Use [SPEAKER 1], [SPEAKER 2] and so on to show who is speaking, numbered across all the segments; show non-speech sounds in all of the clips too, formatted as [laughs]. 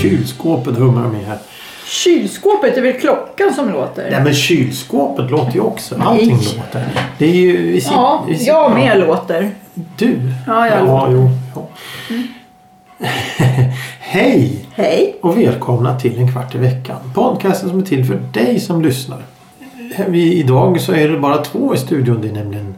[SPEAKER 1] Kylskåpet hummar med här.
[SPEAKER 2] Kylskåpet, det är väl klockan som låter?
[SPEAKER 1] Nej men kylskåpet låter ju också. Allting
[SPEAKER 2] Nej.
[SPEAKER 1] låter. Det är ju... Vi sit-
[SPEAKER 2] ja,
[SPEAKER 1] vi sit-
[SPEAKER 2] jag med låter.
[SPEAKER 1] Du?
[SPEAKER 2] Ja, jag låter. Mm.
[SPEAKER 1] jo, ja. [laughs] Hej
[SPEAKER 2] Hej.
[SPEAKER 1] och välkomna till En kvart i veckan. Podcasten som är till för dig som lyssnar. Vi, idag så är det bara två i studion. Det är nämligen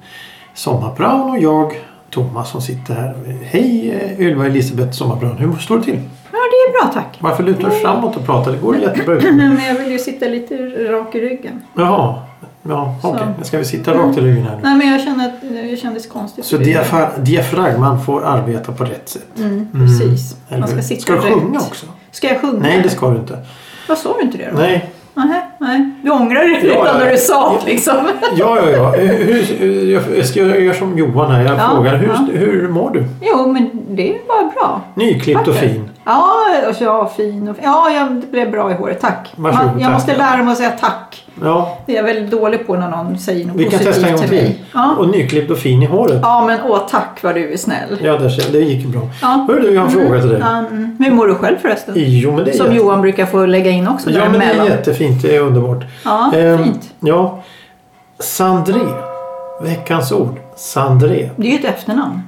[SPEAKER 1] Sommarbraun och jag, Thomas, som sitter här. Hej eh, Ylva Elisabeth Sommarbraun. Hur står det till?
[SPEAKER 2] Ja, det är bra tack. [clears throat]
[SPEAKER 1] Varför lutar du framåt och pratar? Det går jättebra.
[SPEAKER 2] Men jag vill ju sitta lite rak i ryggen.
[SPEAKER 1] Jaha, ja, okej.
[SPEAKER 2] Så.
[SPEAKER 1] Ska vi sitta rakt i ryggen här nu?
[SPEAKER 2] Nej, men jag känner att det kändes konstigt.
[SPEAKER 1] Så diafra- diafragman får arbeta på rätt sätt.
[SPEAKER 2] Mm, precis.
[SPEAKER 1] Eller
[SPEAKER 2] Man ska
[SPEAKER 1] hur?
[SPEAKER 2] sitta
[SPEAKER 1] Ska du
[SPEAKER 2] rätt.
[SPEAKER 1] sjunga också?
[SPEAKER 2] Ska jag sjunga?
[SPEAKER 1] Nej, det ska du inte.
[SPEAKER 2] Vad sa du inte det då?
[SPEAKER 1] Nej.
[SPEAKER 2] Nähä, nej. Du ångrar dig
[SPEAKER 1] Ja,
[SPEAKER 2] redan
[SPEAKER 1] ja.
[SPEAKER 2] när du sa det liksom.
[SPEAKER 1] Ja, ja, ja. Hur, hur, jag ska jag göra som Johan här. Jag
[SPEAKER 2] Ja,
[SPEAKER 1] frågar, hur,
[SPEAKER 2] ja.
[SPEAKER 1] hur mår du?
[SPEAKER 2] [laughs] Jo, men det var bra.
[SPEAKER 1] Nyklippt och
[SPEAKER 2] Vacker.
[SPEAKER 1] fin.
[SPEAKER 2] Ja, och så, ja, fin och Ja, jag det blev bra i håret. Tack.
[SPEAKER 1] Varsågod,
[SPEAKER 2] Man, jag
[SPEAKER 1] tack.
[SPEAKER 2] måste lära mig att säga tack.
[SPEAKER 1] Ja,
[SPEAKER 2] Det är jag väldigt dålig på när någon säger något
[SPEAKER 1] vi kan
[SPEAKER 2] positivt
[SPEAKER 1] testa en gång
[SPEAKER 2] till
[SPEAKER 1] till.
[SPEAKER 2] mig. Ja.
[SPEAKER 1] Och nyklippt och fin i håret.
[SPEAKER 2] ja, men åh tack vad du är snäll.
[SPEAKER 1] Ja, där ser, det gick ju bra.
[SPEAKER 2] Ja.
[SPEAKER 1] Hör du, jag har en fråga till dig.
[SPEAKER 2] Ja, mm. Hur mår du själv förresten?
[SPEAKER 1] Jo, men det är
[SPEAKER 2] Som
[SPEAKER 1] jätte-
[SPEAKER 2] Johan brukar få lägga in också
[SPEAKER 1] Ja, men det är
[SPEAKER 2] däremellan.
[SPEAKER 1] jättefint. Det är underbart.
[SPEAKER 2] Ja,
[SPEAKER 1] Ehm,
[SPEAKER 2] fint.
[SPEAKER 1] Ja. Sandré. Veckans ord. Sandré.
[SPEAKER 2] Det är ju ett efternamn.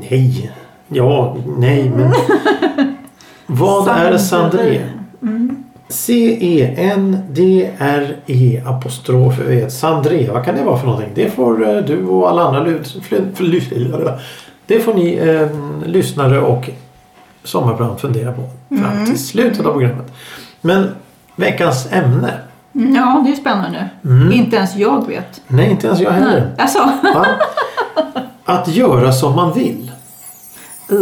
[SPEAKER 1] Nej. Ja, nej, men... Vad är E Sandré? C-E-N-D-R-E apostrof ö E Sandré. Vad kan det vara för någonting? Det får eh, du och alla andra lut- fl- fl- ly- Det får ni eh, lyssnare och sommarbrand fundera på fram till slutet av programmet. Men veckans ämne?
[SPEAKER 2] Mm, Ja, det är spännande.
[SPEAKER 1] Mm.
[SPEAKER 2] Inte ens jag vet.
[SPEAKER 1] Nej, inte ens jag
[SPEAKER 2] [laughs]
[SPEAKER 1] heller. [laughs]
[SPEAKER 2] Alltså.
[SPEAKER 1] Va? Att göra som man vill.
[SPEAKER 2] Ooh.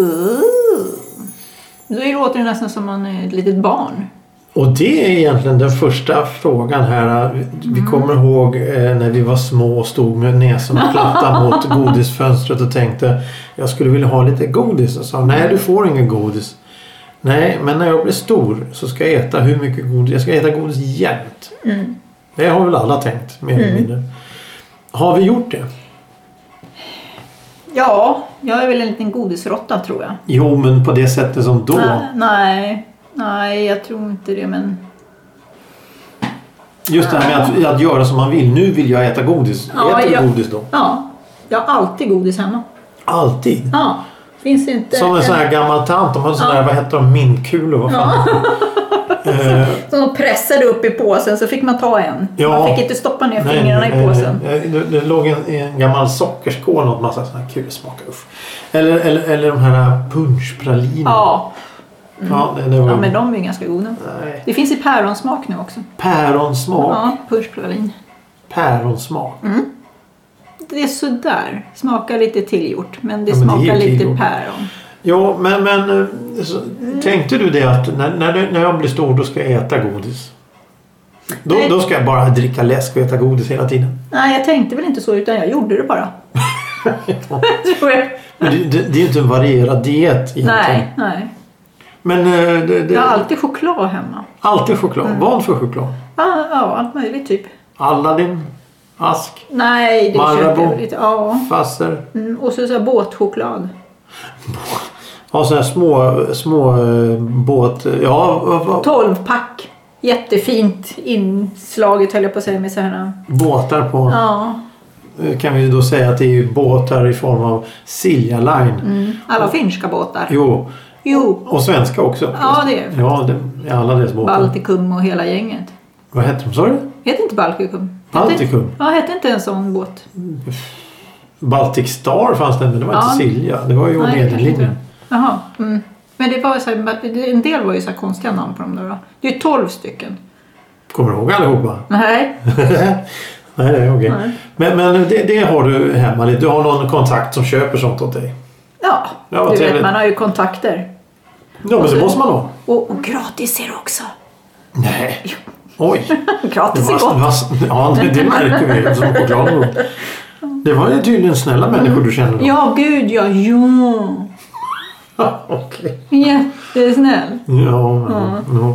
[SPEAKER 2] Då låter det nästan som man är ett litet barn.
[SPEAKER 1] Och det är egentligen den första frågan här. Vi
[SPEAKER 2] Mm.
[SPEAKER 1] kommer ihåg eh, när vi var små och stod med näsan
[SPEAKER 2] [laughs]
[SPEAKER 1] platta mot godisfönstret och tänkte jag skulle vilja ha lite godis. Och sa nej du får ingen godis. Nej men när jag blir stor så ska jag äta hur mycket godis. Jag ska äta godis jämt.
[SPEAKER 2] Mm.
[SPEAKER 1] Det har väl alla tänkt mer eller mindre. Har vi gjort det?
[SPEAKER 2] Ja, jag är väl en liten godisrotta tror jag.
[SPEAKER 1] Jo men på det sättet som då.
[SPEAKER 2] Nej, nej, nej, jag tror inte det men...
[SPEAKER 1] Just det här med att, att göra som man vill. Nu vill jag äta godis.
[SPEAKER 2] Ja,
[SPEAKER 1] Äter
[SPEAKER 2] jag-
[SPEAKER 1] du godis då?
[SPEAKER 2] Ja, jag har alltid godis hemma.
[SPEAKER 1] Alltid.
[SPEAKER 2] Ja, finns det inte...
[SPEAKER 1] Som en sån här gammal tant. De hade sån där, vad hette de, minkulor? Vad fan?
[SPEAKER 2] [laughs]
[SPEAKER 1] eh,
[SPEAKER 2] Som de pressade upp i påsen så fick man ta en.
[SPEAKER 1] Ja.
[SPEAKER 2] Man fick inte stoppa ner
[SPEAKER 1] nej,
[SPEAKER 2] fingrarna
[SPEAKER 1] eh,
[SPEAKER 2] i påsen.
[SPEAKER 1] eh, Det, det låg en, en gammal sockerskål och en massa såna här kulor. Smakar usch. Eller, eller, eller de här punschpralinerna.
[SPEAKER 2] Ja,
[SPEAKER 1] ja, det, det var
[SPEAKER 2] ja, men de är ju ganska goda.
[SPEAKER 1] nej.
[SPEAKER 2] Det finns i päronsmak nu också.
[SPEAKER 1] Päronsmak.
[SPEAKER 2] Ja, Mm. pushpralin.
[SPEAKER 1] Päronsmak.
[SPEAKER 2] Det är sådär. Smakar lite tillgjort, men det
[SPEAKER 1] Ja, men det är
[SPEAKER 2] smakar
[SPEAKER 1] ju
[SPEAKER 2] lite
[SPEAKER 1] tillgjort.
[SPEAKER 2] päron.
[SPEAKER 1] Jo, men, men eh, så, tänkte du det att när, när, det- när jag blir stor då ska jag äta godis? Då,
[SPEAKER 2] Nej.
[SPEAKER 1] då ska jag bara dricka läsk och äta godis hela tiden.
[SPEAKER 2] Nej, jag tänkte väl inte så, utan jag gjorde det bara.
[SPEAKER 1] [laughs]
[SPEAKER 2] Tror jag.
[SPEAKER 1] Men det, det, det är ju inte en varierad diet egentligen.
[SPEAKER 2] Nej, nej.
[SPEAKER 1] Men eh, det, det,
[SPEAKER 2] Jag har alltid choklad hemma.
[SPEAKER 1] alltid choklad.
[SPEAKER 2] Mm.
[SPEAKER 1] Vad för choklad?
[SPEAKER 2] Ja, ja, allt möjligt typ.
[SPEAKER 1] Aladdin, ask,
[SPEAKER 2] Nej, det
[SPEAKER 1] Marabou.
[SPEAKER 2] köper jag väl inte. Ja.
[SPEAKER 1] fasser.
[SPEAKER 2] Mm, och så, så här båtchoklad.
[SPEAKER 1] Ja, sådana här små, små eh, båt... Ja, vad- vad-
[SPEAKER 2] 12-pack. Jättefint inslaget höll jag på att säga med så här.
[SPEAKER 1] båtar på...
[SPEAKER 2] Ja,
[SPEAKER 1] eh, Kan vi ju då säga att det är ju båtar i form av Silja Line.
[SPEAKER 2] Mm. alla finska båtar.
[SPEAKER 1] Jo,
[SPEAKER 2] Jo,
[SPEAKER 1] och svenska också.
[SPEAKER 2] Ja, det är det.
[SPEAKER 1] Ja, det är alla deras båtar.
[SPEAKER 2] Baltikum och hela gänget.
[SPEAKER 1] Vad hette de, sa du?
[SPEAKER 2] Hette inte Baltikum?
[SPEAKER 1] Baltikum?
[SPEAKER 2] Hette, ja, hette inte en sån båt?
[SPEAKER 1] Baltic Star fanns det, men det var
[SPEAKER 2] Ja.
[SPEAKER 1] inte Silja. Det var ju
[SPEAKER 2] Nej, kanske inte.
[SPEAKER 1] Nederlinjen.
[SPEAKER 2] Jaha. Mm. Men det var ju så här, en del var ju så här konstiga namn på dem där. Då. Det är ju 12 stycken.
[SPEAKER 1] Kommer du ihåg allihopa?
[SPEAKER 2] Nej.
[SPEAKER 1] Nej, nej, okej.
[SPEAKER 2] Nej.
[SPEAKER 1] Men, men det, det har du hemma lite. Du har någon kontakt som köper sånt åt dig.
[SPEAKER 2] Ja,
[SPEAKER 1] Ja, vad
[SPEAKER 2] du vet
[SPEAKER 1] trevligt.
[SPEAKER 2] man har ju kontakter.
[SPEAKER 1] Ja, men det måste man ha.
[SPEAKER 2] Och, och gratis är det också. [laughs]
[SPEAKER 1] Nej. Oj. Det
[SPEAKER 2] Gratis är
[SPEAKER 1] var, det
[SPEAKER 2] gott.
[SPEAKER 1] var, ja, det, det märker vi eftersom chokladen var
[SPEAKER 2] Mm.
[SPEAKER 1] Det var ju tydligen snälla människor du kände då.
[SPEAKER 2] Ja, gud ja. Jo.
[SPEAKER 1] [laughs] Okej.
[SPEAKER 2] Jättesnäll.
[SPEAKER 1] Ja, ja, ja.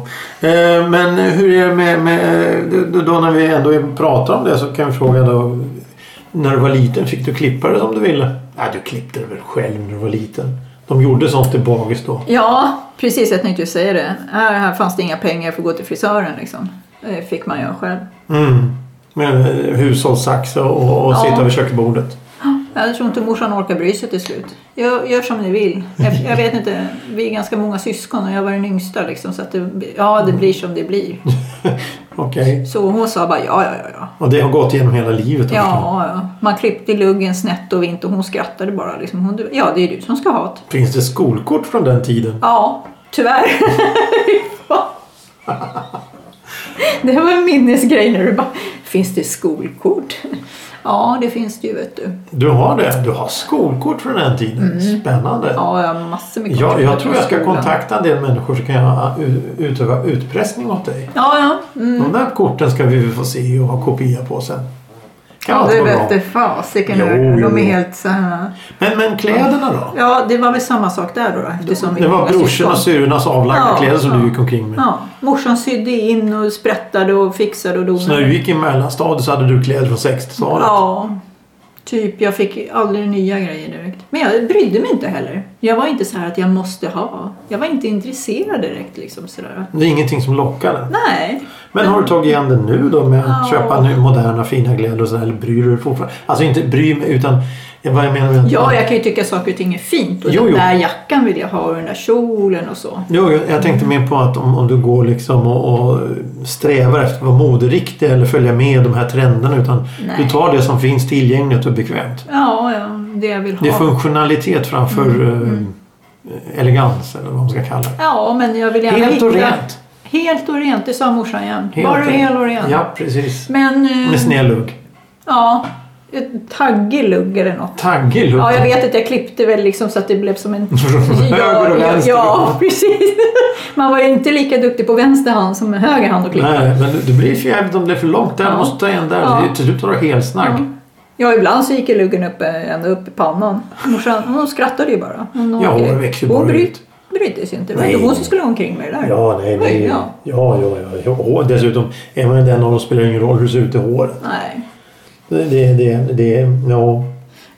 [SPEAKER 1] Eh, Men hur är det med, med... då- Då när vi ändå pratar om det så kan vi fråga då. När du var liten, fick du klippa det som du ville? Nej, du klippte det väl själv när du var liten? De gjorde sånt i bagis då.
[SPEAKER 2] Ja, precis. Jag tänkte ju säga det. Här, här fanns det inga pengar för att gå till frisören liksom. Det fick man göra själv.
[SPEAKER 1] Mm. Med eh, hushållssax och, och
[SPEAKER 2] Ja.
[SPEAKER 1] sitta vid köksbordet.
[SPEAKER 2] Jag tror inte morsan orkar bry sig till slut. Gör, gör som ni vill. Jag, jag vet inte, vi är ganska många syskon och jag var den yngsta liksom. Så att det, ja, det blir som det blir.
[SPEAKER 1] Okej.
[SPEAKER 2] Så hon sa bara ja, ja, ja, ja.
[SPEAKER 1] Och det har gått genom hela livet? alltså.
[SPEAKER 2] Ja, ja. Man klippte luggen snett och vint och hon skrattade bara. Liksom. Hon, ja, det är du som ska ha det.
[SPEAKER 1] Finns det skolkort från den tiden?
[SPEAKER 2] Ja, tyvärr. det var en minnesgrej när du bara, finns det skolkort? Ja, det finns det ju vet du.
[SPEAKER 1] Du har det? Du har skolkort från den tiden? Spännande.
[SPEAKER 2] Mm. Ja, jag har massor med
[SPEAKER 1] Jag, jag
[SPEAKER 2] kontakter
[SPEAKER 1] tror
[SPEAKER 2] på
[SPEAKER 1] jag ska
[SPEAKER 2] skolan.
[SPEAKER 1] kontakta en del människor så kan jag uh, u- utöva utpressning åt dig.
[SPEAKER 2] Ja, ja. Mm.
[SPEAKER 1] De där korten ska vi få se och ha kopia på sen. Kan
[SPEAKER 2] Ja,
[SPEAKER 1] alltid
[SPEAKER 2] det
[SPEAKER 1] vara bra.
[SPEAKER 2] vette fasiken.
[SPEAKER 1] Jo,
[SPEAKER 2] hur-
[SPEAKER 1] jo,
[SPEAKER 2] De är
[SPEAKER 1] jo.
[SPEAKER 2] helt så här.
[SPEAKER 1] Men, men kläderna då?
[SPEAKER 2] Ja, det var väl samma sak där då. då eftersom vi
[SPEAKER 1] Det
[SPEAKER 2] var
[SPEAKER 1] var
[SPEAKER 2] syskon.
[SPEAKER 1] brorsornas och syrrornas avlagda
[SPEAKER 2] Ja,
[SPEAKER 1] kläder som
[SPEAKER 2] ja.
[SPEAKER 1] du gick omkring med.
[SPEAKER 2] Ja, morsan sydde in och sprättade och fixade och
[SPEAKER 1] Så när
[SPEAKER 2] donade.
[SPEAKER 1] du gick i mellanstadiet så hade du kläder från 60-talet.
[SPEAKER 2] Ja, typ. Jag fick aldrig nya grejer direkt. Men jag brydde mig inte heller. Jag var inte så här att jag måste ha. Jag var inte intresserad direkt liksom sådär.
[SPEAKER 1] Det är ingenting som lockade.
[SPEAKER 2] Nej.
[SPEAKER 1] Men har du tagit igen det nu då med att
[SPEAKER 2] Ja.
[SPEAKER 1] köpa nu moderna fina kläder och sådär? Eller bryr du dig fortfarande? Alltså inte bry mig utan vad jag menar med att...
[SPEAKER 2] Ja, jag kan ju tycka saker och ting är fint. Och
[SPEAKER 1] Jo,
[SPEAKER 2] den
[SPEAKER 1] jo.
[SPEAKER 2] där jackan vill jag ha och den där kjolen och så.
[SPEAKER 1] Jo, jag- jag tänkte mer på att om, om du går liksom och, och strävar efter att vara moderiktig eller följa med de här trenderna utan
[SPEAKER 2] Nej.
[SPEAKER 1] du tar det som finns tillgängligt och bekvämt.
[SPEAKER 2] Ja, ja, Mm, det jag vill ha.
[SPEAKER 1] Det är funktionalitet framför eh, elegans eller vad man ska kalla det.
[SPEAKER 2] Ja, men jag vill gärna
[SPEAKER 1] Helt och
[SPEAKER 2] hitta...
[SPEAKER 1] rent.
[SPEAKER 2] Helt och rent, det sa morsan igen.
[SPEAKER 1] Helt
[SPEAKER 2] Bara
[SPEAKER 1] och rent.
[SPEAKER 2] hel och ren.
[SPEAKER 1] Ja, precis.
[SPEAKER 2] Men... eh,
[SPEAKER 1] Med sned lugg.
[SPEAKER 2] ja, ett taggig lugg eller något.
[SPEAKER 1] Taggig lugg.
[SPEAKER 2] Ja, jag vet att jag klippte väl liksom så att det blev som
[SPEAKER 1] [laughs]
[SPEAKER 2] en...
[SPEAKER 1] höger och vänster. [laughs]
[SPEAKER 2] Ja, precis. Man var ju inte lika duktig på vänster hand som med höger hand och klippa.
[SPEAKER 1] Nej, men du- du blir för jävligt om det är för långt. Där
[SPEAKER 2] Ja.
[SPEAKER 1] måste du ta en där.
[SPEAKER 2] Ja.
[SPEAKER 1] Det är- Till slut har du helsnagg.
[SPEAKER 2] Ja, ibland så gick ju luggen upp, eh, ända upp i pannan. Morsan, hon skrattade ju bara. Hon,
[SPEAKER 1] Ja, hon växer bara
[SPEAKER 2] hon bry,
[SPEAKER 1] ut.
[SPEAKER 2] brydde sig inte. Det var
[SPEAKER 1] Nej.
[SPEAKER 2] inte hon som skulle omkring med det där.
[SPEAKER 1] Ja, nej, nej. Ja,
[SPEAKER 2] Ja.
[SPEAKER 1] ja, ja. ja. Och dessutom, är man den av dem spelar det ingen roll hur det ser ut i håret.
[SPEAKER 2] Nej.
[SPEAKER 1] Det, det, det, det ja.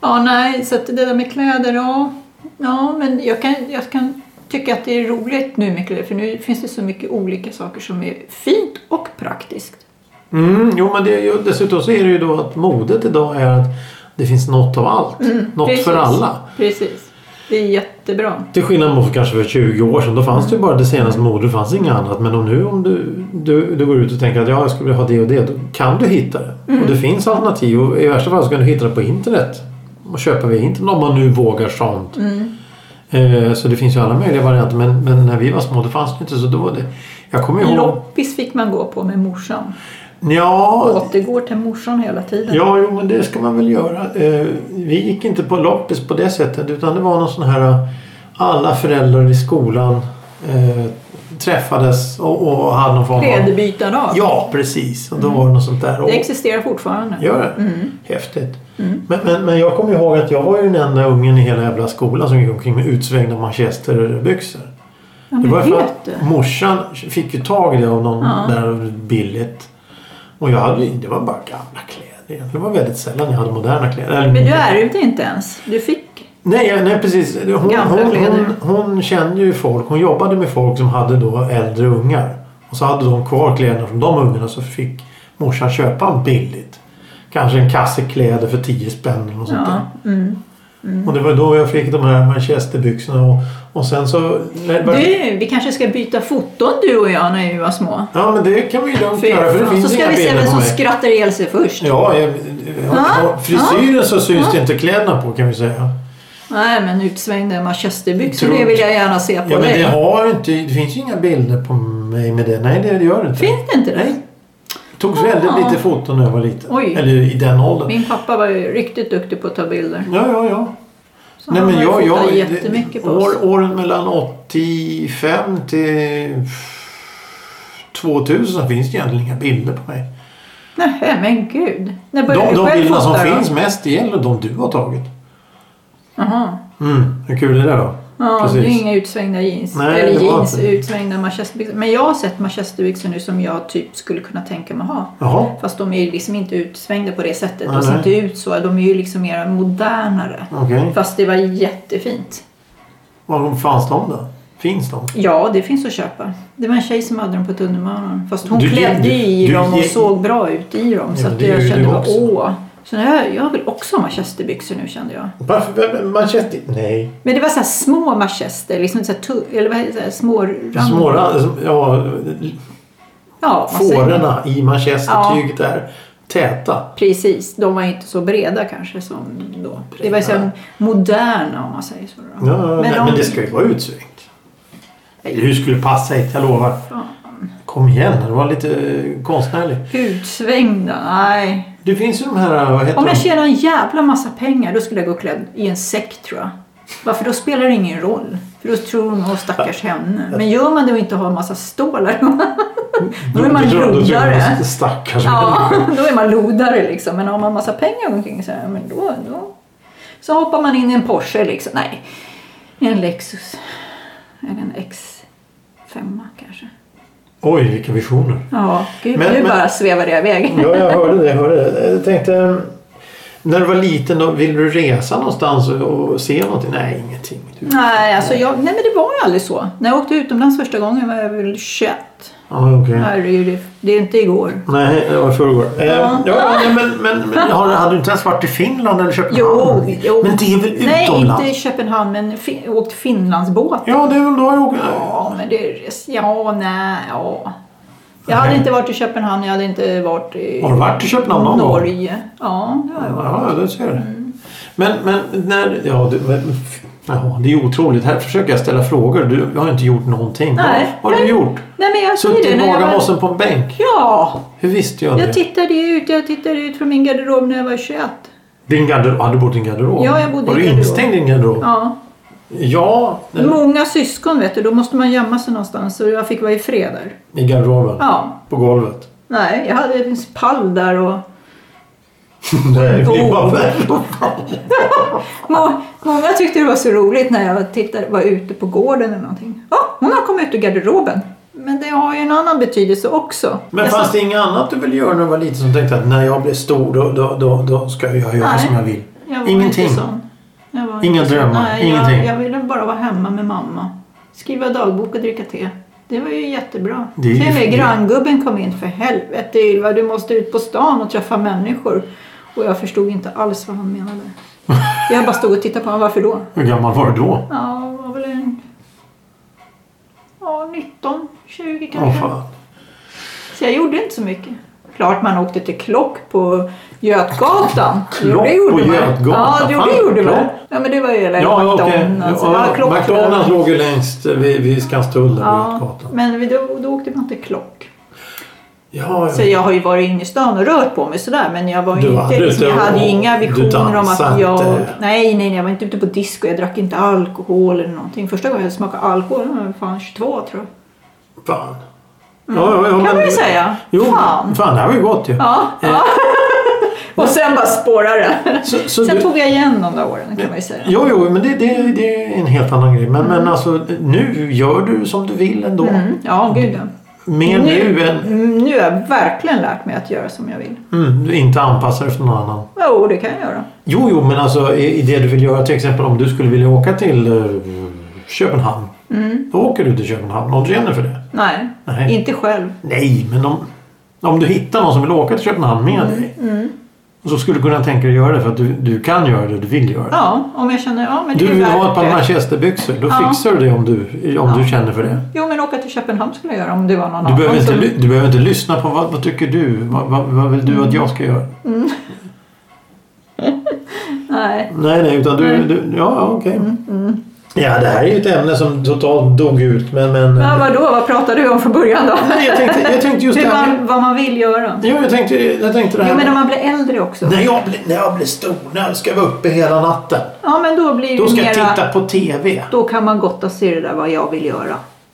[SPEAKER 2] Ja, nej, så att det där med kläder, ja. Ja, men jag kan, jag kan tycka att det är roligt nu med kläder för nu finns det så mycket olika saker som är fint och praktiskt.
[SPEAKER 1] Mm, jo, men det, är ju- dessutom så är det ju då att modet idag är att det finns något av allt. något
[SPEAKER 2] Mm, Precis.
[SPEAKER 1] för alla.
[SPEAKER 2] Precis. Det är jättebra.
[SPEAKER 1] Till skillnad mot kanske för 20 år sedan. Då fanns det ju bara det senaste modet. Det fanns inget annat. Men om nu om du, du, du går ut och tänker att ja, jag skulle vilja ha det och det. Då kan du hitta det. Och det finns alternativ. Och i värsta fall så kan du hitta det på internet. Och köpa via internet om man nu vågar sånt. Eh, så det finns ju alla möjliga varianter. Men, men när vi var små det fanns det inte. Så då var det... Jag kommer ihåg...
[SPEAKER 2] Loppis fick man gå på med morsan.
[SPEAKER 1] Ja,
[SPEAKER 2] Återgår till morsan hela tiden.
[SPEAKER 1] Ja, jo, men det ska man väl göra. Eh, vi gick inte på loppis på det sättet utan det var någon sån här eh, alla föräldrar i skolan eh, träffades och, och hade någon form av...
[SPEAKER 2] Klädbytardag.
[SPEAKER 1] Ja, precis. Och då var det något sånt där. Och,
[SPEAKER 2] Det existerar fortfarande.
[SPEAKER 1] gör det? Häftigt. Men, men, men jag kommer ihåg att jag var ju den enda ungen i hela jävla skolan som gick omkring med utsvängda manchesterbyxor.
[SPEAKER 2] Ja, men
[SPEAKER 1] Det var ju för
[SPEAKER 2] vet
[SPEAKER 1] att
[SPEAKER 2] du?
[SPEAKER 1] morsan fick ju tag i det av någon
[SPEAKER 2] Ja.
[SPEAKER 1] där billigt. Och jag hade, ju- det var bara gamla kläder. egentligen. Det var väldigt sällan jag hade moderna kläder. Eller-
[SPEAKER 2] Men du ärvde inte ens. Du fick...
[SPEAKER 1] nej, jag- nej, precis. Hon,
[SPEAKER 2] Gamla
[SPEAKER 1] hon, hon,
[SPEAKER 2] kläder.
[SPEAKER 1] hon kände ju folk. Hon jobbade med folk som hade då äldre ungar. Och så hade de kvar kläderna från de ungarna så fick morsan köpa dem billigt. Kanske en kasse kläder för 10 spänn eller något sånt där.
[SPEAKER 2] Ja. Mm.
[SPEAKER 1] Och det var då jag fick de här manchesterbyxorna. Och, och sen så...
[SPEAKER 2] Du, vi kanske ska byta foton du och jag när vi var små.
[SPEAKER 1] Ja, men det kan vi ju lugnt göra för det
[SPEAKER 2] så
[SPEAKER 1] finns
[SPEAKER 2] ska
[SPEAKER 1] inga
[SPEAKER 2] vi se vem
[SPEAKER 1] bilder på
[SPEAKER 2] som
[SPEAKER 1] mig.
[SPEAKER 2] skrattar ihjäl sig först.
[SPEAKER 1] Ja, jag, jag,
[SPEAKER 2] Ja,
[SPEAKER 1] frisyren så syns det inte kläderna på kan vi säga.
[SPEAKER 2] Nej, men utsvängda manchesterbyxor,
[SPEAKER 1] Tror-
[SPEAKER 2] det vill jag gärna se på
[SPEAKER 1] Ja, men
[SPEAKER 2] dig.
[SPEAKER 1] det har inte, det finns ju inga bilder på mig med det. Nej, det gör det inte.
[SPEAKER 2] Finns det inte det?
[SPEAKER 1] Nej. Det togs väldigt
[SPEAKER 2] Ah.
[SPEAKER 1] lite foton när jag var liten.
[SPEAKER 2] Oj.
[SPEAKER 1] Eller i den åldern.
[SPEAKER 2] Min pappa var ju riktigt duktig på att ta bilder.
[SPEAKER 1] Ja, ja, ja.
[SPEAKER 2] Så han har ju fotat jättemycket på oss.
[SPEAKER 1] år, åren mellan 85 till 2000 finns det egentligen inga bilder på mig.
[SPEAKER 2] Nej, men gud. När började
[SPEAKER 1] De,
[SPEAKER 2] du
[SPEAKER 1] de
[SPEAKER 2] själv
[SPEAKER 1] bilderna
[SPEAKER 2] fota
[SPEAKER 1] som
[SPEAKER 2] då?
[SPEAKER 1] finns mest är de du har tagit.
[SPEAKER 2] Jaha.
[SPEAKER 1] Mm, hur kul är det då?
[SPEAKER 2] Ja,
[SPEAKER 1] Precis.
[SPEAKER 2] det är inga utsvängda jeans.
[SPEAKER 1] Nej,
[SPEAKER 2] Eller
[SPEAKER 1] det var
[SPEAKER 2] jeans,
[SPEAKER 1] inte det.
[SPEAKER 2] utsvängda manchesterbyxor. Men jag har sett manchesterbyxor nu som jag typ skulle kunna tänka mig ha.
[SPEAKER 1] Jaha.
[SPEAKER 2] Fast de är ju liksom inte utsvängda på det sättet.
[SPEAKER 1] Nej,
[SPEAKER 2] De ser
[SPEAKER 1] nej.
[SPEAKER 2] inte ut så. De är ju liksom mer modernare.
[SPEAKER 1] Okej.
[SPEAKER 2] Fast det var jättefint.
[SPEAKER 1] Var fanns de då? Finns de?
[SPEAKER 2] Ja, det finns att köpa. Det var en tjej som hade dem på tunnelbanan. Fast hon
[SPEAKER 1] Du ger-
[SPEAKER 2] klädde i
[SPEAKER 1] du
[SPEAKER 2] dem och
[SPEAKER 1] ger-
[SPEAKER 2] såg bra ut i dem.
[SPEAKER 1] Ja,
[SPEAKER 2] så
[SPEAKER 1] men
[SPEAKER 2] att
[SPEAKER 1] det gör
[SPEAKER 2] jag
[SPEAKER 1] ju
[SPEAKER 2] kände
[SPEAKER 1] du
[SPEAKER 2] bara
[SPEAKER 1] också.
[SPEAKER 2] åh. Så nu, har jag, jag vill också ha manchesterbyxor nu kände jag.
[SPEAKER 1] Varför? Manchester? Nej.
[SPEAKER 2] Men det var så här små manchester. Liksom så här, tu- eller vad heter det? Så här, små...
[SPEAKER 1] Småra, ja,
[SPEAKER 2] Ja, vad säger man?
[SPEAKER 1] fårorna i manchestertyget är täta.
[SPEAKER 2] Precis, de var inte så breda kanske som då. Det var ju så här moderna om man säger så. Då.
[SPEAKER 1] Ja, men, nej,
[SPEAKER 2] de-
[SPEAKER 1] men det ska ju vara utsvängt. Hur skulle passa hit? Jag lovar.
[SPEAKER 2] Fan.
[SPEAKER 1] Kom igen, det var lite eh, konstnärlig.
[SPEAKER 2] Utsvängda, nej.
[SPEAKER 1] Det finns ju de här, vad heter
[SPEAKER 2] Om jag
[SPEAKER 1] de?
[SPEAKER 2] tjänar en jävla massa pengar då skulle jag gå klädd i en säck tror jag. Varför då spelar det ingen roll. För då tror de, åh stackars henne. Men gör man det och inte har en massa stålar [laughs] då, då är man
[SPEAKER 1] Då- då- då- då- då-
[SPEAKER 2] lodare.
[SPEAKER 1] Stackars
[SPEAKER 2] Ja,
[SPEAKER 1] människa.
[SPEAKER 2] [laughs] då är man lodare liksom. Men har man massa pengar omkring sig, ja, men då, då... Så hoppar man in i en Porsche liksom. Nej, i en Lexus. Eller en X5 kanske.
[SPEAKER 1] Oj, vilka visioner.
[SPEAKER 2] Ja, gud,
[SPEAKER 1] Men-
[SPEAKER 2] nu
[SPEAKER 1] men- Mm.
[SPEAKER 2] bara svävar jag iväg.
[SPEAKER 1] Ja, jag hörde det. Jag, hörde det. jag tänkte, eh, när du var liten, då, ville du resa någonstans och, och se någonting? Nej, ingenting. Du.
[SPEAKER 2] Nej, alltså jag, nej, men det var ju aldrig så. När jag åkte utomlands första gången var jag väl 21.
[SPEAKER 1] Ja, okej.
[SPEAKER 2] Herregud, det, det är inte igår.
[SPEAKER 1] Nej, det var i förrgår. Eh,
[SPEAKER 2] Ja.
[SPEAKER 1] Ja. nej, men, men, men har, hade du inte ens varit i Finland eller Köpenhamn?
[SPEAKER 2] Jo, jo.
[SPEAKER 1] Men det är väl
[SPEAKER 2] Nej,
[SPEAKER 1] utomlands?
[SPEAKER 2] inte i Köpenhamn, men fin, åkt Finlandsbåt.
[SPEAKER 1] Ja, det är väl då jag åker.
[SPEAKER 2] Ja, men det... Ja, nej, ja. Jag hade
[SPEAKER 1] Nej.
[SPEAKER 2] inte varit i Köpenhamn, jag hade inte varit i...
[SPEAKER 1] Har du varit i Köpenhamn någon gång?
[SPEAKER 2] Norge. Mm. Ja, det har jag varit.
[SPEAKER 1] Ja, det ser du. Men, men när... Ja, du, men, f- jaha, det är otroligt. Här försöker jag ställa frågor. Du har inte gjort någonting.
[SPEAKER 2] Nej.
[SPEAKER 1] Vad har du gjort?
[SPEAKER 2] Nej, men jag säger
[SPEAKER 1] Suttit
[SPEAKER 2] det.
[SPEAKER 1] i
[SPEAKER 2] När jag var...
[SPEAKER 1] Bagarmossen på en bänk.
[SPEAKER 2] Ja,
[SPEAKER 1] Hur visste jag,
[SPEAKER 2] jag
[SPEAKER 1] det?
[SPEAKER 2] tittade ut. Jag tittade ut från min garderob när jag var 21.
[SPEAKER 1] Din garderob. Hade du bott i en garderob?
[SPEAKER 2] Ja, jag bodde
[SPEAKER 1] Var
[SPEAKER 2] i
[SPEAKER 1] du
[SPEAKER 2] garderob.
[SPEAKER 1] instängd i en garderob?
[SPEAKER 2] Ja.
[SPEAKER 1] Ja, eh,
[SPEAKER 2] Många syskon vet du, då måste man gömma sig någonstans. Så jag fick vara i fred där.
[SPEAKER 1] i garderoben.
[SPEAKER 2] Ja.
[SPEAKER 1] På golvet.
[SPEAKER 2] Nej, jag hade en pall där och...
[SPEAKER 1] [laughs] Nej, det är
[SPEAKER 2] Oh.
[SPEAKER 1] bara-
[SPEAKER 2] Må- Många tyckte det var så roligt när jag tittade, var ute på gården eller någonting. Ja, hon har kommit ut ur garderoben. Men det har ju en annan betydelse också.
[SPEAKER 1] Men
[SPEAKER 2] Nästan-
[SPEAKER 1] fanns det inget annat du ville göra när du var liten som tänkte att när jag blir stor då, då, då, då ska jag göra
[SPEAKER 2] Nej.
[SPEAKER 1] som jag vill?
[SPEAKER 2] jag var
[SPEAKER 1] Ingenting.
[SPEAKER 2] Inte sån. Jag var
[SPEAKER 1] Inga
[SPEAKER 2] inte sån.
[SPEAKER 1] drömmar,
[SPEAKER 2] Nej, Jag,
[SPEAKER 1] ingenting.
[SPEAKER 2] jag ville bara vara hemma med mamma. Skriva dagbok och dricka te. Det var ju jättebra.
[SPEAKER 1] Det är ju
[SPEAKER 2] Till och med
[SPEAKER 1] fint.
[SPEAKER 2] granngubben kom in. För helvete Ylva, du måste ut på stan och träffa människor. Och jag förstod inte alls vad han
[SPEAKER 1] [laughs]
[SPEAKER 2] menade. Jag bara stod och tittade på honom. Varför då?
[SPEAKER 1] Hur gammal var du då?
[SPEAKER 2] Ja, det var väl en... Ja, 19, 20
[SPEAKER 1] Åh
[SPEAKER 2] kanske.
[SPEAKER 1] fan.
[SPEAKER 2] så jag gjorde inte så mycket. Klart man åkte till Klock på Götgatan. Jo,
[SPEAKER 1] [laughs] Klock
[SPEAKER 2] det gjorde
[SPEAKER 1] på
[SPEAKER 2] man.
[SPEAKER 1] Götgatan?
[SPEAKER 2] Ja, jo, det
[SPEAKER 1] Fan,
[SPEAKER 2] gjorde man.
[SPEAKER 1] Klock.
[SPEAKER 2] Ja, men det var ju eller
[SPEAKER 1] Ja, okej.
[SPEAKER 2] McDonalds. Ja,
[SPEAKER 1] Ja,
[SPEAKER 2] Klock.
[SPEAKER 1] McDonalds låg ju längst vid, vid Skanstull där ja.
[SPEAKER 2] Ja,
[SPEAKER 1] gatan.
[SPEAKER 2] men vi- då, då åkte man till Klock.
[SPEAKER 1] Ja,
[SPEAKER 2] Så
[SPEAKER 1] ja.
[SPEAKER 2] jag har ju varit inne i stan och rört på mig sådär men jag var ju
[SPEAKER 1] Du var
[SPEAKER 2] inte,
[SPEAKER 1] aldrig
[SPEAKER 2] liksom, jag
[SPEAKER 1] ute och-
[SPEAKER 2] hade ju inga
[SPEAKER 1] du
[SPEAKER 2] visioner om att
[SPEAKER 1] dansade
[SPEAKER 2] jag...
[SPEAKER 1] inte.
[SPEAKER 2] Nej, nej, nej, jag var inte ute på disco. Jag drack inte alkohol eller någonting. Första gången jag smakade alkohol var jag fan 22 tror jag. Mm.
[SPEAKER 1] Fan. Ja, ja, ja,
[SPEAKER 2] Kan man ju säga.
[SPEAKER 1] Jo, Eh.
[SPEAKER 2] Fan.
[SPEAKER 1] fan. det här var ju gott ju.
[SPEAKER 2] Ja, ja. [laughs] Och sen bara spårar det.
[SPEAKER 1] Så, så
[SPEAKER 2] Sen
[SPEAKER 1] du,
[SPEAKER 2] tog jag igen de där åren kan man ju säga.
[SPEAKER 1] jo, jo, men det, det, det är en helt annan grej. Men, men alltså nu gör du som du vill ändå.
[SPEAKER 2] Mm. Ja, gud ja.
[SPEAKER 1] Mer nu, än
[SPEAKER 2] Mm, nu har jag verkligen lärt mig att göra som jag vill.
[SPEAKER 1] mm, du inte anpassar dig efter någon annan.
[SPEAKER 2] Jo, det kan jag göra.
[SPEAKER 1] Jo, jo, men alltså i i det du vill göra till exempel om du skulle vilja åka till eh, Köpenhamn.
[SPEAKER 2] Mm.
[SPEAKER 1] Då åker du till Köpenhamn om du känner för det.
[SPEAKER 2] Nej,
[SPEAKER 1] Nej.
[SPEAKER 2] inte själv.
[SPEAKER 1] Nej, men om, om du hittar någon som vill åka till Köpenhamn
[SPEAKER 2] Mm.
[SPEAKER 1] med dig. Så skulle du kunna tänka dig att göra det för att du, du kan göra det, du vill göra det.
[SPEAKER 2] Ja, om jag känner... Ja, men det
[SPEAKER 1] Du
[SPEAKER 2] är
[SPEAKER 1] vill ha
[SPEAKER 2] värt
[SPEAKER 1] ett par
[SPEAKER 2] det.
[SPEAKER 1] manchesterbyxor, då
[SPEAKER 2] Ja.
[SPEAKER 1] fixar du det om du, om du känner för det.
[SPEAKER 2] Jo, men åka till Köpenhamn skulle jag göra om det var någon
[SPEAKER 1] Du
[SPEAKER 2] annan
[SPEAKER 1] behöver, inte,
[SPEAKER 2] som-
[SPEAKER 1] ly- du behöver inte lyssna på vad, vad tycker du? Vad, vad, vad vill du att jag ska göra?
[SPEAKER 2] Nej. Mm,
[SPEAKER 1] Nej, nej, utan du... du ja, ja, okej. Ja, det här är ju ett ämne som totalt dog ut, men... men
[SPEAKER 2] Men vadå, vad pratade du om från början då?
[SPEAKER 1] Nej, jag tänkte, jag tänkte just det
[SPEAKER 2] Hur
[SPEAKER 1] här med...
[SPEAKER 2] man, vad man vill göra.
[SPEAKER 1] Jo, jag tänkte, jag tänkte det
[SPEAKER 2] Jo,
[SPEAKER 1] här
[SPEAKER 2] men
[SPEAKER 1] med...
[SPEAKER 2] om man blir äldre också.
[SPEAKER 1] När jag, blir, när jag blir stor, när ska jag vara uppe hela natten?
[SPEAKER 2] Ja, men då blir
[SPEAKER 1] Då
[SPEAKER 2] det
[SPEAKER 1] ska
[SPEAKER 2] mera...
[SPEAKER 1] jag titta på TV.
[SPEAKER 2] Då kan man gotta se det där vad jag vill göra.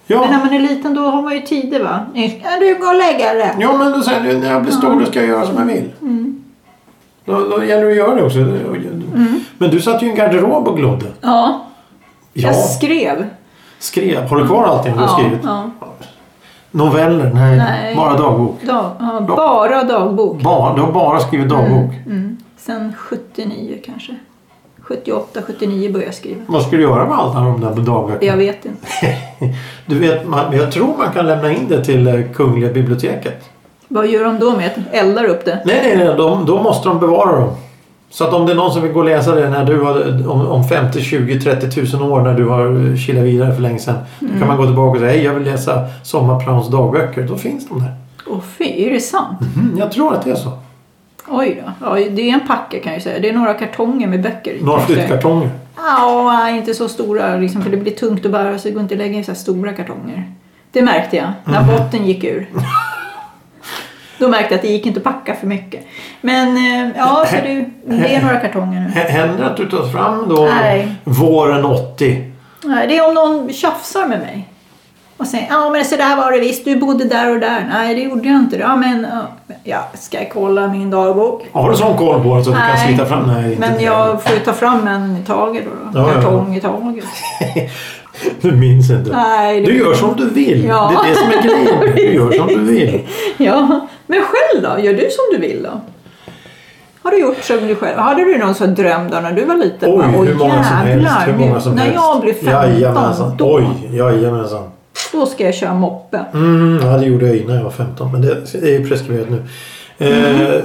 [SPEAKER 2] Men när
[SPEAKER 1] Ja,
[SPEAKER 2] man är liten då har man ju tider va? Ja, du går och lägga dig.
[SPEAKER 1] ja men då säger du, när jag blir stor då ska jag göra som jag vill.
[SPEAKER 2] Mm.
[SPEAKER 1] Då, då gäller det att göra det också. Men du satt ju i en garderob och glodde.
[SPEAKER 2] Ja.
[SPEAKER 1] Ja,
[SPEAKER 2] Jag skrev.
[SPEAKER 1] skrev. Har du kvar allting du har
[SPEAKER 2] Ja,
[SPEAKER 1] skrivit?
[SPEAKER 2] ja.
[SPEAKER 1] Noveller? Nej.
[SPEAKER 2] Nej.
[SPEAKER 1] Bara dagbok?
[SPEAKER 2] Dag, ja, bara dagbok.
[SPEAKER 1] Bara, du har bara skrivit dagbok?
[SPEAKER 2] Mm. Sen 79 kanske. 78, 79 började jag skriva.
[SPEAKER 1] Vad ska du göra med alla de där dagböckerna?
[SPEAKER 2] Jag vet inte.
[SPEAKER 1] [laughs] Du vet, man, jag tror man kan lämna in det till eh, Kungliga biblioteket.
[SPEAKER 2] Vad gör de då med att Eldar upp det?
[SPEAKER 1] Nej, nej, nej. De, då måste de bevara dem. Så att om det är någon som vill gå och läsa det när du har, om, om 50, 20, 30 tusen år när du har eh, kilat vidare för länge sedan. Då
[SPEAKER 2] Mm.
[SPEAKER 1] kan man gå tillbaka och säga hej, jag vill läsa Sommarprauns dagböcker. Då finns de där.
[SPEAKER 2] Åh fy, är det sant?
[SPEAKER 1] Mm, jag tror att det är så.
[SPEAKER 2] Oj då. Ja, det är en packa kan jag ju säga. Det är några kartonger med böcker i.
[SPEAKER 1] Några
[SPEAKER 2] kan jag säga.
[SPEAKER 1] flyttkartonger.
[SPEAKER 2] Ja, äh, inte så stora liksom, för det blir tungt att bära så det går inte att lägga i så här stora kartonger. Det märkte jag när
[SPEAKER 1] Mhm.
[SPEAKER 2] botten
[SPEAKER 1] [laughs]
[SPEAKER 2] gick ur. Då märkte jag att det gick inte att packa för mycket. Men eh, ja, så det, det är några kartonger nu.
[SPEAKER 1] H- Händer det att du tar fram då
[SPEAKER 2] Nej.
[SPEAKER 1] våren 80?
[SPEAKER 2] Nej, Det är om någon tjafsar med mig och säger ja men så där var det visst, du bodde där och där. Nej, det gjorde jag inte. Ja, men ja, ja, ska jag kolla min dagbok?
[SPEAKER 1] Har du sån koll på det så att du kan
[SPEAKER 2] Nej,
[SPEAKER 1] slita fram? Nej, inte
[SPEAKER 2] Men
[SPEAKER 1] det.
[SPEAKER 2] jag får ju ta fram en i taget
[SPEAKER 1] Ja,
[SPEAKER 2] då. då.
[SPEAKER 1] ja, ja.
[SPEAKER 2] Kartong i taget.
[SPEAKER 1] Du minns inte.
[SPEAKER 2] Nej, det-
[SPEAKER 1] Du gör som du vill.
[SPEAKER 2] Ja.
[SPEAKER 1] Det är det som är grejen.
[SPEAKER 2] [laughs]
[SPEAKER 1] Du gör som du vill.
[SPEAKER 2] Ja, men själv då? Gör du som du vill då? Har du gjort som du själv? Hade du någon sån dröm då när du var liten?
[SPEAKER 1] Oj,
[SPEAKER 2] Bara,
[SPEAKER 1] hur många som helst.
[SPEAKER 2] jävlar,
[SPEAKER 1] Hur många som
[SPEAKER 2] nu,
[SPEAKER 1] helst.
[SPEAKER 2] När jag blir 15
[SPEAKER 1] Jajamensan.
[SPEAKER 2] då,
[SPEAKER 1] Oj, jajamensan.
[SPEAKER 2] då ska jag köra moppe.
[SPEAKER 1] Mm, ja, det gjorde jag innan jag var 15. Men det är ju preskriberat nu.
[SPEAKER 2] Mm.
[SPEAKER 1] Eh,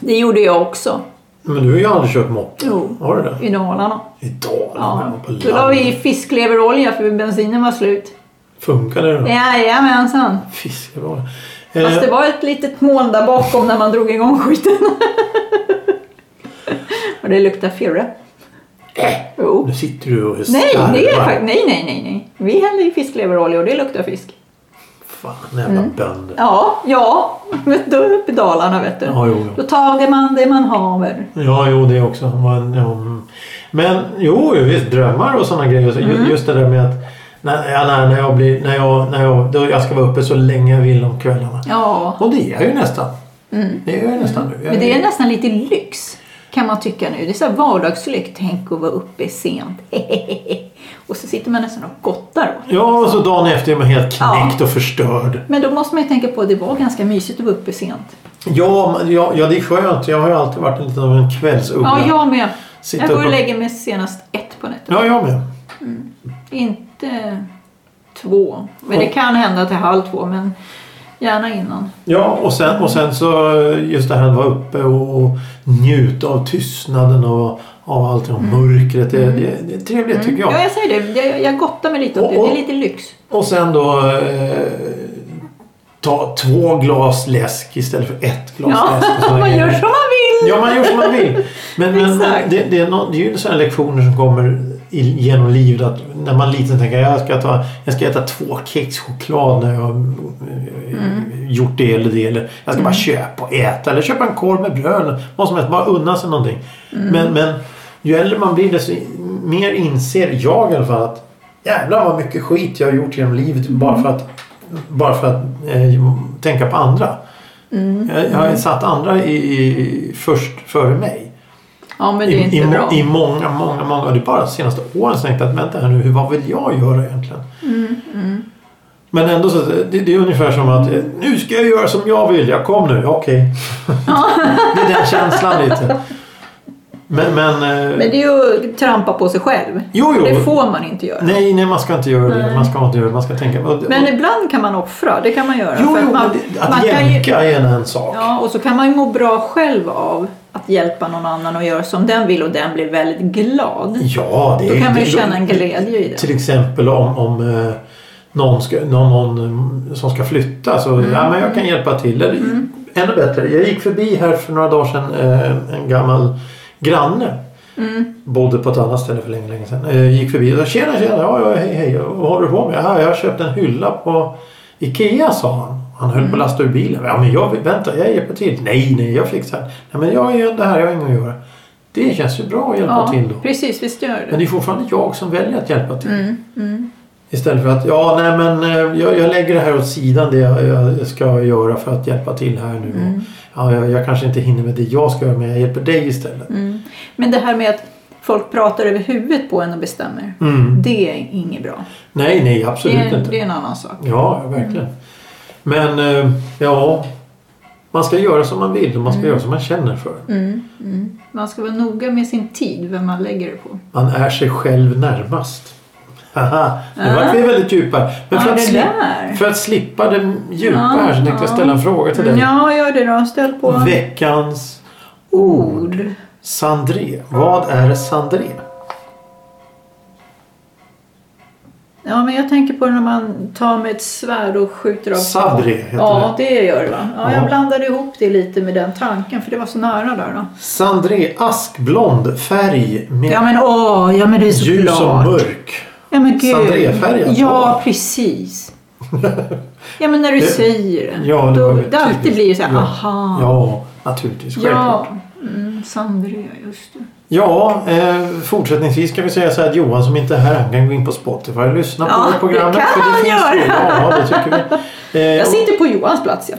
[SPEAKER 2] Det gjorde jag också
[SPEAKER 1] men du har ju aldrig kört moppe.
[SPEAKER 2] Jo.
[SPEAKER 1] Har du det?
[SPEAKER 2] i Dalarna.
[SPEAKER 1] Idag? när
[SPEAKER 2] Ja.
[SPEAKER 1] man var på
[SPEAKER 2] Då la vi i
[SPEAKER 1] landet.
[SPEAKER 2] fiskleverolja för bensinen var slut.
[SPEAKER 1] Funkar det då?
[SPEAKER 2] Jajamensan.
[SPEAKER 1] Fisk, det Eh, var det.
[SPEAKER 2] Eh. Fast det var ett litet moln där bakom när man drog igång skiten. [laughs] Och det luktar firre. Jo.
[SPEAKER 1] Eh. Nu sitter du och
[SPEAKER 2] Nej, det är
[SPEAKER 1] skarvar.
[SPEAKER 2] fakt- nej, nej, nej, nej. Vi häller i fiskleverolja och det luktar fisk.
[SPEAKER 1] Fan, jävla
[SPEAKER 2] Mm.
[SPEAKER 1] bönder.
[SPEAKER 2] Ja, ja. Men Då är vi uppe i Dalarna vet du.
[SPEAKER 1] Ja, jo, jo.
[SPEAKER 2] Då tager man det man haver.
[SPEAKER 1] Ja, jo det också. Men, ja, mm. men jo, jo, visst drömmar och sådana grejer. Så ju-
[SPEAKER 2] Mm.
[SPEAKER 1] Just det där med att när, ja, när, när jag, blir, när jag, när jag, då jag ska vara uppe så länge jag vill om kvällarna.
[SPEAKER 2] Ja. Mm.
[SPEAKER 1] Och det är jag ju nästan. Det är jag ju nästan nu. Jag
[SPEAKER 2] Men det är nästan lite lyx kan man tycka nu. Det är så här vardagslyx. Tänk att vara uppe sent. [laughs] och så sitter man nästan och gottar åt.
[SPEAKER 1] Ja, och så dagen efter är man helt knäckt och förstörd.
[SPEAKER 2] Men då måste man ju tänka på att det var ganska mysigt att vara uppe sent.
[SPEAKER 1] Ja, men- ja, ja, det är skönt. Jag har ju alltid varit lite av en kvällsuggla.
[SPEAKER 2] Ja, jag med.
[SPEAKER 1] Sitta
[SPEAKER 2] jag går
[SPEAKER 1] upp
[SPEAKER 2] och
[SPEAKER 1] och-
[SPEAKER 2] lägger mig senast ett på nätterna.
[SPEAKER 1] ja, jag med.
[SPEAKER 2] Inte två. Men det kan hända till halv två, men gärna innan.
[SPEAKER 1] Ja, och sen, och sen så just det här att vara uppe och, och njuta av tystnaden och av allt det här mörkret. Det, det, det är trevligt tycker jag.
[SPEAKER 2] Mm. Ja, jag säger det. Jag, jag gottar mig lite åt det.
[SPEAKER 1] Och- och-
[SPEAKER 2] Det är lite lyx.
[SPEAKER 1] Och sen då eh, ta två glas läsk istället för ett glas
[SPEAKER 2] Ja,
[SPEAKER 1] läsk. och sådana
[SPEAKER 2] [laughs] man
[SPEAKER 1] grejer.
[SPEAKER 2] gör som man vill.
[SPEAKER 1] Ja, man gör som man vill. Men, men, men
[SPEAKER 2] Exakt.
[SPEAKER 1] det, det, är nå- det är ju sådana lektioner som kommer i, genom livet. Att när man är liten tänker jag ska ta, jag ska äta två kex choklad när jag har eh, gjort det eller det. Eller jag ska bara köpa och äta. Eller köpa en korv med bröd. eller Vad som helst. Bara unna sig någonting. Men, men ju äldre man blir desto mer inser jag i alla fall att jävlar vad mycket skit jag har gjort genom livet bara för att, bara för att eh, tänka på andra. Jag, jag har satt andra i, i, först före mig.
[SPEAKER 2] Ja, men det är
[SPEAKER 1] I,
[SPEAKER 2] inte
[SPEAKER 1] i,
[SPEAKER 2] bra.
[SPEAKER 1] må- I många, många, många. Det är bara de senaste åren som jag tänkt att vänta här nu, hur- vad vill jag göra egentligen?
[SPEAKER 2] Mm,
[SPEAKER 1] Men ändå så, det, det är ungefär som att eh, nu ska jag göra som jag vill. Jag kom nu, okej. [laughs] det är den känslan lite. Men, men, eh,
[SPEAKER 2] Men det är ju att trampa på sig själv.
[SPEAKER 1] Jo, jo.
[SPEAKER 2] Det får man inte göra.
[SPEAKER 1] nej, nej, man ska inte göra det. Man ska inte göra det. Man ska tänka. Och, och,
[SPEAKER 2] Men ibland kan man offra. Det kan man göra.
[SPEAKER 1] jo,
[SPEAKER 2] För
[SPEAKER 1] jo,
[SPEAKER 2] att man,
[SPEAKER 1] men det- att
[SPEAKER 2] man kan ju,
[SPEAKER 1] jämka är en, en sak.
[SPEAKER 2] Ja, och så kan man ju må bra själv av att hjälpa någon annan och göra som den vill och den blir väldigt glad.
[SPEAKER 1] Ja, det
[SPEAKER 2] Då
[SPEAKER 1] är-
[SPEAKER 2] kan man ju
[SPEAKER 1] det-
[SPEAKER 2] känna en glädje i det.
[SPEAKER 1] Till exempel om, om eh, någon, ska, någon, någon mm, som ska flytta så ja, men jag kan hjälpa till. Eller, Ännu bättre, jag gick förbi här för några dagar sedan eh, en gammal granne. Bodde på ett annat ställe för länge, länge sedan. Eh, gick förbi och sa tjena tjena, ja, ja, hej hej, vad håller du på med? Ja, jag har köpt en hylla på Ikea sa han. Han höll på att lasta ur bilen. Ja men jag, vänta jag hjälper till. Nej nej jag fixar det. Nej men jag gör det här, jag har inget att göra. Det känns ju bra att hjälpa
[SPEAKER 2] Ja,
[SPEAKER 1] till då.
[SPEAKER 2] precis. Visst gör
[SPEAKER 1] Men
[SPEAKER 2] det.
[SPEAKER 1] det är fortfarande jag som väljer att hjälpa till.
[SPEAKER 2] Mm,
[SPEAKER 1] Istället för att, ja nej men eh, jag, jag lägger det här åt sidan det jag, jag ska göra för att hjälpa till här nu.
[SPEAKER 2] Mm. Mm.
[SPEAKER 1] Och, ja, jag, jag kanske inte hinner med det jag ska göra men jag hjälper dig istället.
[SPEAKER 2] Men det här med att folk pratar över huvudet på en och bestämmer.
[SPEAKER 1] Mm.
[SPEAKER 2] Det är inget bra.
[SPEAKER 1] Nej, nej,
[SPEAKER 2] Det
[SPEAKER 1] absolut
[SPEAKER 2] är,
[SPEAKER 1] inte.
[SPEAKER 2] det är en annan sak.
[SPEAKER 1] Ja, verkligen. Men eh, ja, man ska göra som man vill och man ska göra som man känner för.
[SPEAKER 2] Mm, mm. Man ska vara noga med sin tid, vem man lägger det på.
[SPEAKER 1] Man är sig själv närmast. Haha, nu vart vi väldigt djupa. Men för,
[SPEAKER 2] Ja,
[SPEAKER 1] att
[SPEAKER 2] det
[SPEAKER 1] slip-
[SPEAKER 2] där.
[SPEAKER 1] för att slippa det djupa
[SPEAKER 2] Ja,
[SPEAKER 1] här så tänkte jag
[SPEAKER 2] ja. Mm,
[SPEAKER 1] ställa en fråga till dig.
[SPEAKER 2] Ja, gör det då. Ställ på
[SPEAKER 1] Veckans
[SPEAKER 2] ord.
[SPEAKER 1] Sandré. Vad är Sandré?
[SPEAKER 2] Ja, men jag tänker på när man tar med ett svärd och skjuter av.
[SPEAKER 1] Sabre heter
[SPEAKER 2] Ja, det gör det va? Ja,
[SPEAKER 1] Ja.
[SPEAKER 2] jag blandade ihop det lite med den tanken för det var så nära där då.
[SPEAKER 1] det. Sandré, askblond färg med
[SPEAKER 2] Ja men åh, ja men det är så
[SPEAKER 1] ljus och
[SPEAKER 2] klart.
[SPEAKER 1] mörk.
[SPEAKER 2] Ja men gud.
[SPEAKER 1] Sandrefärgat,
[SPEAKER 2] Ja,
[SPEAKER 1] va? [laughs]
[SPEAKER 2] precis. Ja men när du
[SPEAKER 1] Det-
[SPEAKER 2] säger det.
[SPEAKER 1] Ja, det
[SPEAKER 2] då,
[SPEAKER 1] var
[SPEAKER 2] det
[SPEAKER 1] väldigt
[SPEAKER 2] alltid
[SPEAKER 1] typiskt.
[SPEAKER 2] blir det så här,
[SPEAKER 1] ja.
[SPEAKER 2] aha.
[SPEAKER 1] Ja, naturligtvis. Självklart.
[SPEAKER 2] ja. Mm, Sandre, just det.
[SPEAKER 1] Ja, eh, fortsättningsvis kan vi säga så här att Johan som inte är här han kan gå in på Spotify och lyssna
[SPEAKER 2] Ja,
[SPEAKER 1] på programmet.
[SPEAKER 2] det kan
[SPEAKER 1] för
[SPEAKER 2] han
[SPEAKER 1] finns
[SPEAKER 2] göra.
[SPEAKER 1] då. Ja, det tycker vi. Eh,
[SPEAKER 2] Jag sitter på Johans plats ja.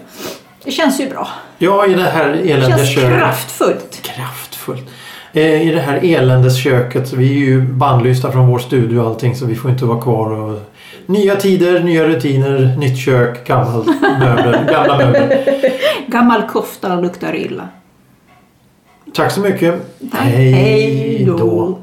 [SPEAKER 2] Det känns ju bra.
[SPEAKER 1] Ja, i det här
[SPEAKER 2] Det
[SPEAKER 1] eländes
[SPEAKER 2] känns
[SPEAKER 1] köket.
[SPEAKER 2] kraftfullt.
[SPEAKER 1] Kraftfullt. Eh, I det här eländes köket. Vi är ju bannlysta från vår studio och allting så vi får inte vara kvar. Och... Nya tider, nya rutiner, nytt kök, gammalt möbler, gamla möbler.
[SPEAKER 2] Gammal kofta luktar illa.
[SPEAKER 1] Tack så mycket.
[SPEAKER 2] Tack. Hej då.